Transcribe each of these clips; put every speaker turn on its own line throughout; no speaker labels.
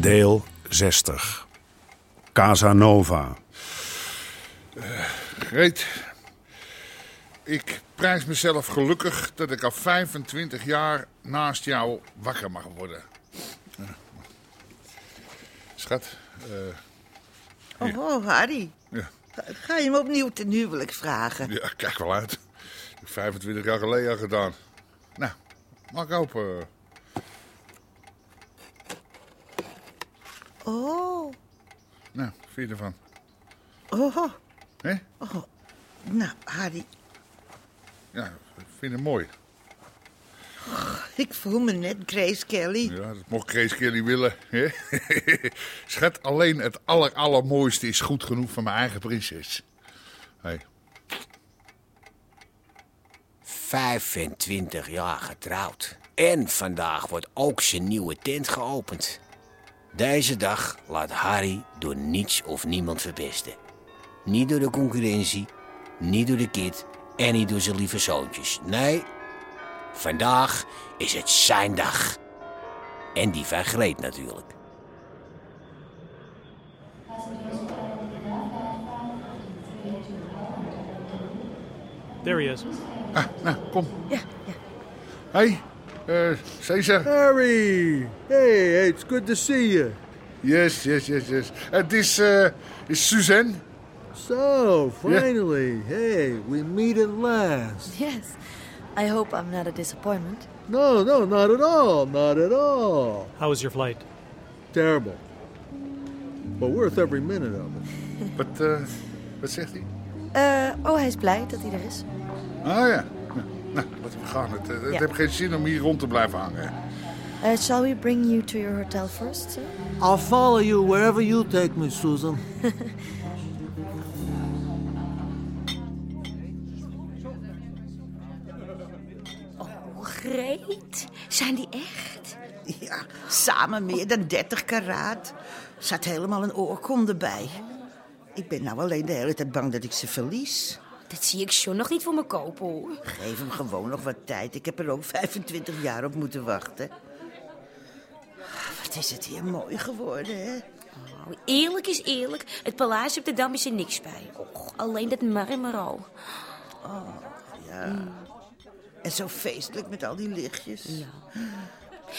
Deel 60. Casanova.
Greet. Ik prijs mezelf gelukkig dat ik al 25 jaar naast jou wakker mag worden. Eh, Schat, eh,
Oh, oh, Harry.
Ja.
Ga- Ga je hem opnieuw ten huwelijk vragen?
ja, kijk wel uit. Ik heb 25 jaar geleden al gedaan. Nou, maak open.
Oh,
Nou, wat vind je ervan?
oh,
Hè?
oh. Nou, Harry,
Ja, ik vind het mooi.
ik voel me net Grace Kelly.
Ja, dat mocht Grace Kelly willen. hè? Schat, alleen het aller, allermooiste is goed genoeg voor mijn eigen prinses. Hey.
25 jaar getrouwd. En vandaag wordt ook zijn nieuwe tent geopend. Deze dag laat Harry door niets of niemand verpesten. Niet door de concurrentie, niet door de kid en niet door zijn lieve zoontjes. Nee, vandaag is het zijn dag. En die van Greet natuurlijk.
There he is.
Ah, nou, kom. Ja, ja. Hey, eh, Cesar.
Harry! Hey, hey, it's good to see you.
Yes, yes, yes, yes. Het is, eh, is Suzanne.
So, finally, hey, we meet at last.
Yes. I hope I'm not a disappointment.
No, no, not at all, not at all.
How was your flight?
Terrible. But worth every minute of it.
Wat, eh, wat zegt hij?
Eh, oh, hij is blij dat hij er is.
Ah, ja. Nou, Nou, laten we gaan. Het, het
Ja.
heeft geen zin om hier rond te blijven hangen.
Eh, shall we bring you to your hotel first, sir?
I'll follow you wherever you take me, Susan.
Greet, zijn die echt?
Ja, samen meer dan 30 karaat. Zat helemaal een oorkonde bij. Ik ben nou alleen de hele tijd bang dat ik ze verlies.
Dat zie ik John nog niet voor me kopen hoor.
Geef hem gewoon nog wat tijd. Ik heb er ook 25 jaar op moeten wachten. Wat is het hier mooi geworden, hè?
Nou, eerlijk is eerlijk, het paleis op de Dam is er niks bij. Och, alleen dat marmer al.
En zo feestelijk met al die lichtjes.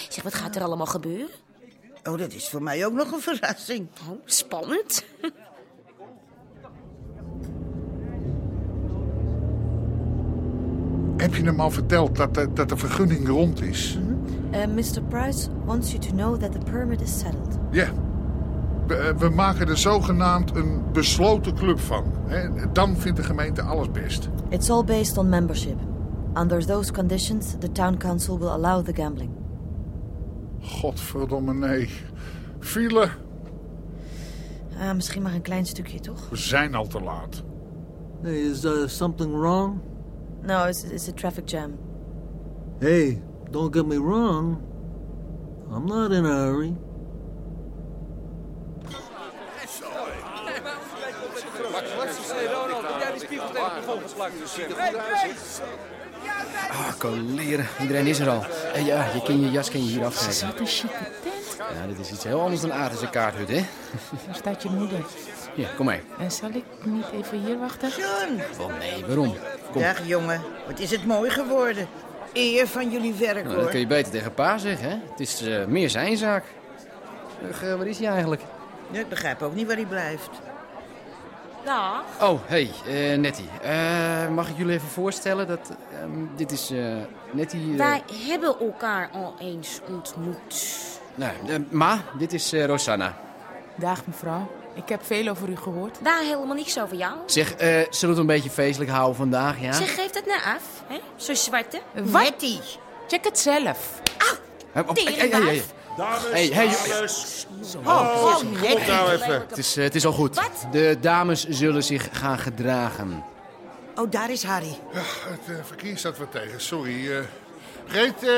Zeg, wat gaat er allemaal gebeuren?
Oh, dat is voor mij ook nog een verrassing.
Oh, spannend.
Heb je hem al verteld dat, de- dat de vergunning rond is?
Eh, Mr. Price wants you to know that the permit is settled.
Ja. We, eh, we maken er zogenaamd een besloten club van. Hè? Dan vindt de gemeente alles best.
It's all based on membership. Under those conditions, the town council will allow the gambling.
Godverdomme, nee. File,
Ah, misschien maar een klein stukje, toch?
we zijn al te laat.
Hey, is uh, something wrong?
No, it's, it's a traffic jam.
Hey, don't get me wrong. I'm not in a hurry.
Ah, leren. Iedereen is er al. En ja, je kan je jas kan je hier afgeven.
Wat een chique tent.
Ja, dit is iets heel anders dan aardse kaarthut, hè?
Daar staat je moeder.
Ja, kom mee.
En zal ik niet even hier wachten?
John!
Wel, nee, waarom? Kom.
Dag jongen, wat is het mooi geworden. Eer van jullie werk
Nou, dat
hoor.
kun je beter tegen pa zeggen, hè? Het is eh, meer zijn zaak. Zeg, eh, waar is hij eigenlijk?
Ja, Ik begrijp ook niet waar hij blijft.
Dag.
Oh, hey, eh, Nettie. Eh, mag ik jullie even voorstellen dat... ehm, dit is eh, Nettie... eh,
Wij hebben elkaar al eens ontmoet.
nou, eh, ma, dit is eh, Rosanna.
Dag mevrouw. Oh, Ik heb veel over u gehoord.
Daar helemaal niks over jou.
Zeg, eh, zullen we het een beetje feestelijk houden vandaag, ja?
Zeg, geef dat nou af. Hè? Zo'n zwarte.
Wat?
Nettie.
Check het zelf.
Hup, op-
tering,
hey, hey, hey, hey.
Dames,
Hey, hey, joh.
dames.
Oh, oh
Kom
Nettie.
nou even.
Het is, eh, het is al goed.
Wat?
De dames zullen zich gaan gedragen.
Oh, daar is Harry.
Ja, het eh, verkeer staat wat tegen, sorry. eh Greet, eh,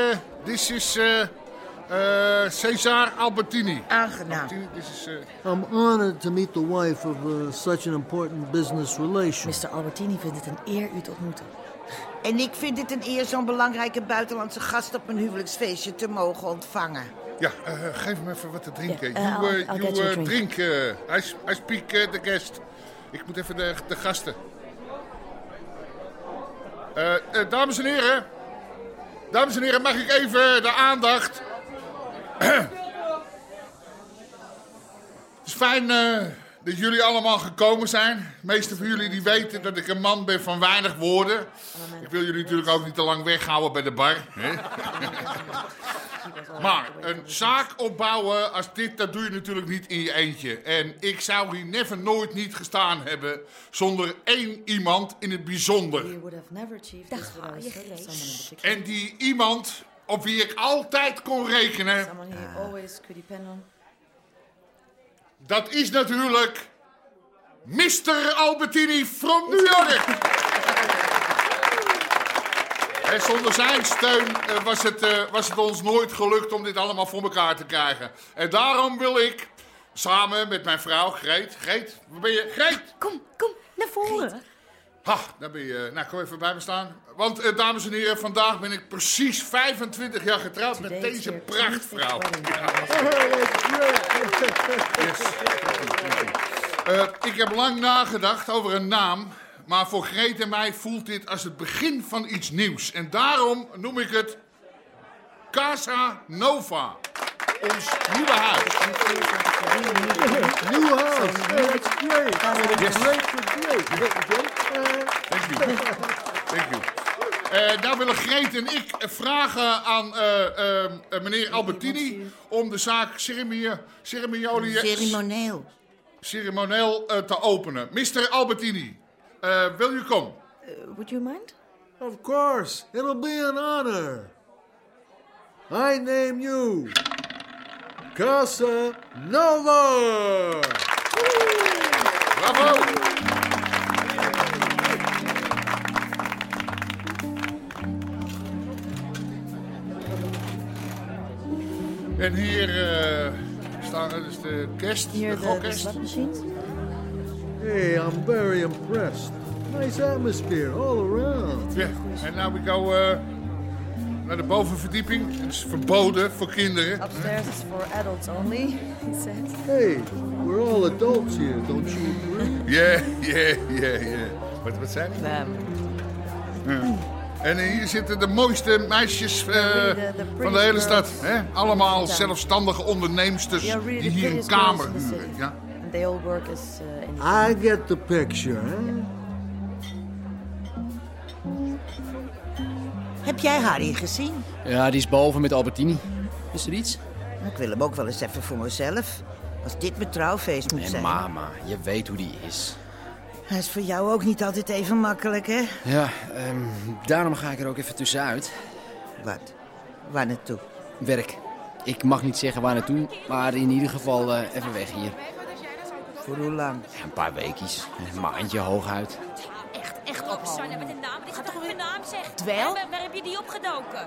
dit is eh, eh, Cesar Albertini.
Aangenaam.
Albertini, Dit is... eh,
I'm honored to meet the wife of uh, such an important business relation.
Mr. Albertini vindt het een eer u te ontmoeten.
En ik vind het een eer zo'n belangrijke buitenlandse gast op mijn huwelijksfeestje te mogen ontvangen.
ja, eh, geef hem even wat te drinken.
Ja, eh,
you eh,
I'll- I'll
you,
get you a
eh,
drink.
drink. eh, I, s- I speak eh, the guest. Ik moet even de, de gasten. Eh, eh, dames en heren. Dames en heren, mag ik even de aandacht? Het is fijn eh, dat jullie allemaal gekomen zijn. De meesten van jullie die weten dat ik een man ben van weinig woorden. Ik wil jullie natuurlijk ook niet te lang weghouden bij de bar. Hè?
Ah,
maar een zaak opbouwen als dit, dat doe je natuurlijk niet in je eentje. En ik zou hier never nooit niet gestaan hebben zonder één iemand in het bijzonder.
You would have never achieved this
ga je,
without
Grace.
someone in particular.
En die iemand op wie ik altijd kon rekenen,
Someone you always could depend on.
dat is natuurlijk Mr. Albertini from New York. En zonder zijn steun eh, was, het, eh, was het ons nooit gelukt om dit allemaal voor elkaar te krijgen. En daarom wil ik, samen met mijn vrouw Greet... Greet, waar ben je? Greet!
Kom, kom, naar voren.
Ha, daar ben je. Nou, kom even bij me staan. Want, eh, dames en heren, vandaag ben ik precies 25 jaar getrouwd met
Today is
deze
your
prachtvrouw.
25th wedding
Yes. Eh, ik heb lang nagedacht over een naam. Maar voor Greet en mij voelt dit als het begin van iets nieuws. En daarom noem ik het Casa Nova. Ons nieuwe huis.
New house. Hey, that's great.
Yes.
Great, great.
Thank you. Thank you. Eh, nou willen Greet en ik vragen aan eh, ehm, eh, meneer Albertini om de zaak ceremonie- ceremoniële-
Ceremonieel.
ceremonieel eh, te openen. Mr. Albertini, eh, wil u komen?
Uh, would you mind?
Of course, it'll be an honor. I name you Casa Nova.
Bravo! En hier eh, staan er dus de guest,
Here
de
the, the
gokkerst.
slot machines.
Hey, I'm very impressed. Nice atmosphere all around.
Ja, en nou we go eh, naar de bovenverdieping. Het is verboden voor kinderen.
Upstairs is for adults only, he says.
Hey, we're all adults here, don't you agree?
Ja, ja, ja, ja. Wat, wat zijn die? En hier zitten de mooiste meisjes eh,
really the- the
van de hele
prettiest
stad.
girls
Hè? Allemaal
town.
zelfstandige onderneemsters
They are really
die
the
hier een
prettiest girls
kamer
in the
huren.
city.
Ja?
And they all work as uh, in the
I get the picture, huh?
Heb jij Harry gezien?
Ja, die is boven met Albertini. Is er iets?
Ik wil hem ook wel eens even voor mezelf. Als dit mijn trouwfeest moet
En
zijn.
mama, je weet hoe die is.
Hij is voor jou ook niet altijd even makkelijk, hè?
Ja, ehm, daarom ga ik er ook even tussenuit.
Wat? Waar naartoe?
Werk. Ik mag niet zeggen waar naartoe, maar in ieder geval eh, even weg hier.
Voor hoe lang?
Ja, Een paar weekjes, een maandje hooguit.
Echt, echt op, Sanne, met een naam. Dit gaat toch een naam, zeg.
Dwel?
Waar, waar heb je die opgedoken?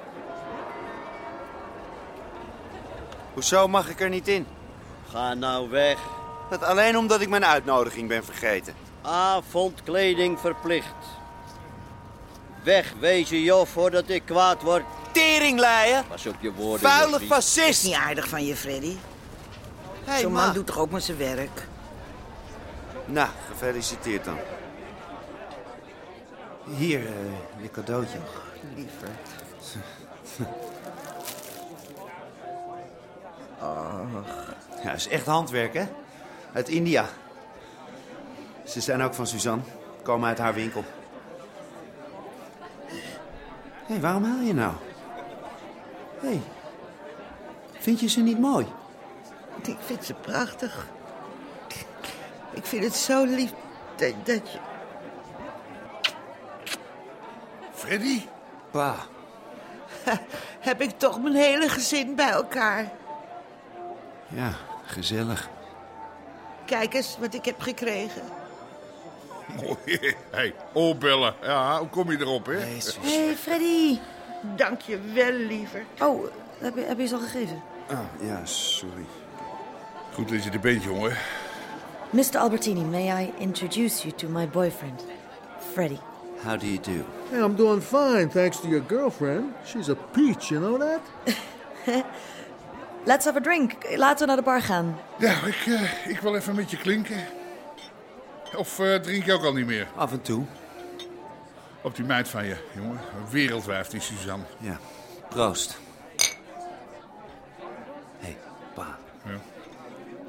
Hoezo mag ik er niet in?
Ga nou weg.
Dat alleen omdat ik mijn uitnodiging ben vergeten.
Avondkleding verplicht. Wegwezen, joh, voordat ik kwaad word.
Teringleier!
Pas op je woorden.
Vuile
jochie.
fascist!
Niet aardig van je, Freddy.
Hey,
Zo'n
ma.
man doet toch ook maar zijn werk?
Nou, gefeliciteerd dan. Hier, eh, je cadeautje.
Lieverd.
Ja, is echt handwerk, hè? Uit India. Ze zijn ook van Suzanne. Komen uit haar winkel. Hé, waarom haal je nou? Hé, vind je ze niet mooi?
Ik vind ze prachtig. Ik vind het zo lief dat, dat je...
Freddy?
Pa.
Heb ik toch mijn hele gezin bij elkaar.
Ja, gezellig.
Kijk eens wat ik heb gekregen.
Mooi. Hé, hey, opbellen. Ja, hoe kom je erop, hè?
Ah.
Hé, hey, Freddy. Dank je wel, liever.
Oh, heb je, heb je ze al gegeven?
Ah, ja, sorry.
Goed dat je er bent, jongen.
Mr. Albertini, may I introduce you to my boyfriend, Freddy?
How do you do?
Hey, I'm doing fine, thanks to your girlfriend. She's a peach, you know that?
Let's have a drink. Laten we naar de bar gaan.
Ja, ik, eh, ik wil even met je klinken. Of eh, drink je ook al niet meer?
Af en toe.
Op die meid van je, jongen. Een Wereldwijf, die Suzanne.
Ja. Proost. Hé, hey, pa.
Ja.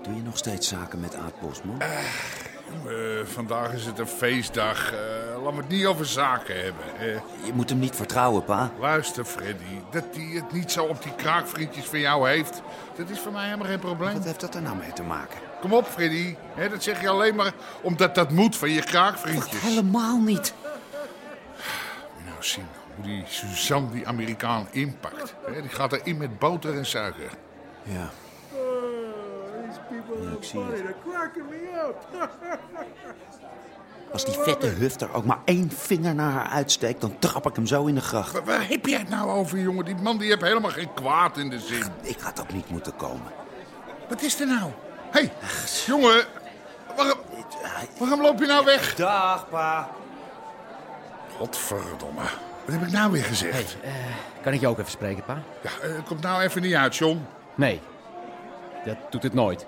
Doe je nog steeds zaken met Aad Bosman?
Eh, vandaag is het een feestdag. Eh laat me het niet over zaken hebben. Eh,
Je moet hem niet vertrouwen, pa.
luister, Freddy. Dat hij het niet zo op die kraakvriendjes van jou heeft... dat is voor mij helemaal geen probleem.
Wat heeft dat er nou mee te maken?
Kom op, Freddy. Hè, dat zeg je alleen maar omdat dat moet van je kraakvriendjes.
Helemaal niet.
Moet je nou zien hoe die Suzanne die Amerikaan inpakt. Hè, die gaat erin met boter en suiker.
Ja. Ja, ik zie het. Als die vette hufter ook maar één vinger naar haar uitsteekt, dan trap ik hem zo in de gracht.
Waar, waar heb jij het nou over, jongen? Die man die heeft helemaal geen kwaad in de zin.
Ik had ook niet moeten komen.
Wat is er nou? Hé, hey, jongen. Waarom,
uh,
waarom loop je nou weg?
Dag, pa.
Godverdomme. Wat heb ik nou weer gezegd?
Kan ik je ook even spreken, pa?
Ja, eh, het komt nou even niet uit, John.
Nee, dat doet het nooit.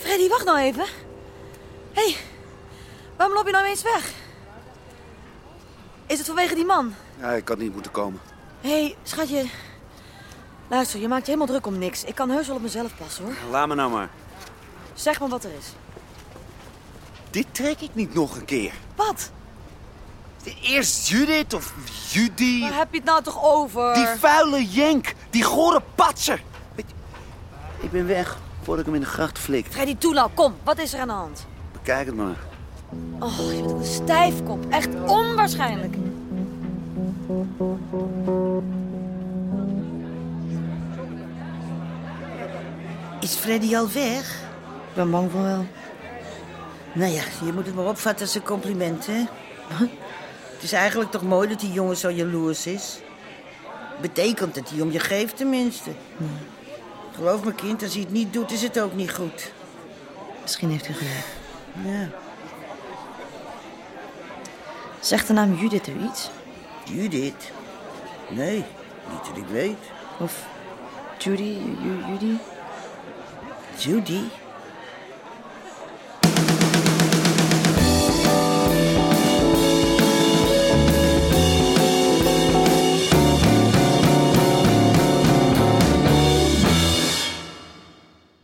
Freddy, wacht nou even. Hé, hey, waarom loop je nou eens weg? Is het vanwege die man?
Ja, ik had niet moeten komen.
Hé, hey, schatje. Luister, je maakt je helemaal druk om niks. Ik kan heus wel op mezelf passen, hoor.
Laat me nou maar.
Zeg maar wat er is.
Dit trek ik niet nog een keer.
Wat?
Eerst Judith of Judy.
Waar heb je het nou toch over?
Die vuile jenk. Die gore patser. Weet je, Ik ben weg voordat ik hem in de gracht flikt.
Freddy, toe nou, kom. Wat is er aan de hand?
Bekijk het maar.
Oh, je bent een stijfkop. Echt onwaarschijnlijk.
Is Freddy al weg?
Ik ben bang voor wel.
Nou ja, je moet het maar opvatten als een compliment, hè? Het is eigenlijk toch mooi dat die jongen zo jaloers is. Betekent dat hij om je geeft, tenminste. Geloof me, kind, als hij het niet doet, is het ook niet goed.
Misschien heeft hij gelijk.
Ja.
Zegt de naam Judith u iets?
Judith? Nee, niet dat ik weet.
Of Judy? Ju- Judy?
Judy?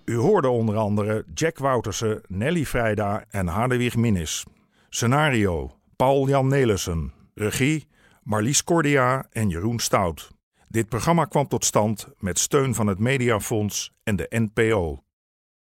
U hoorde onder andere Jack Woutersen, Nelly Vrijda en Hadewig Minnis. Scenario: Paul-Jan Nelissen. Regie: Marlies Cordia en Jeroen Stout. Dit programma kwam tot stand met steun van het Mediafonds en de NPO.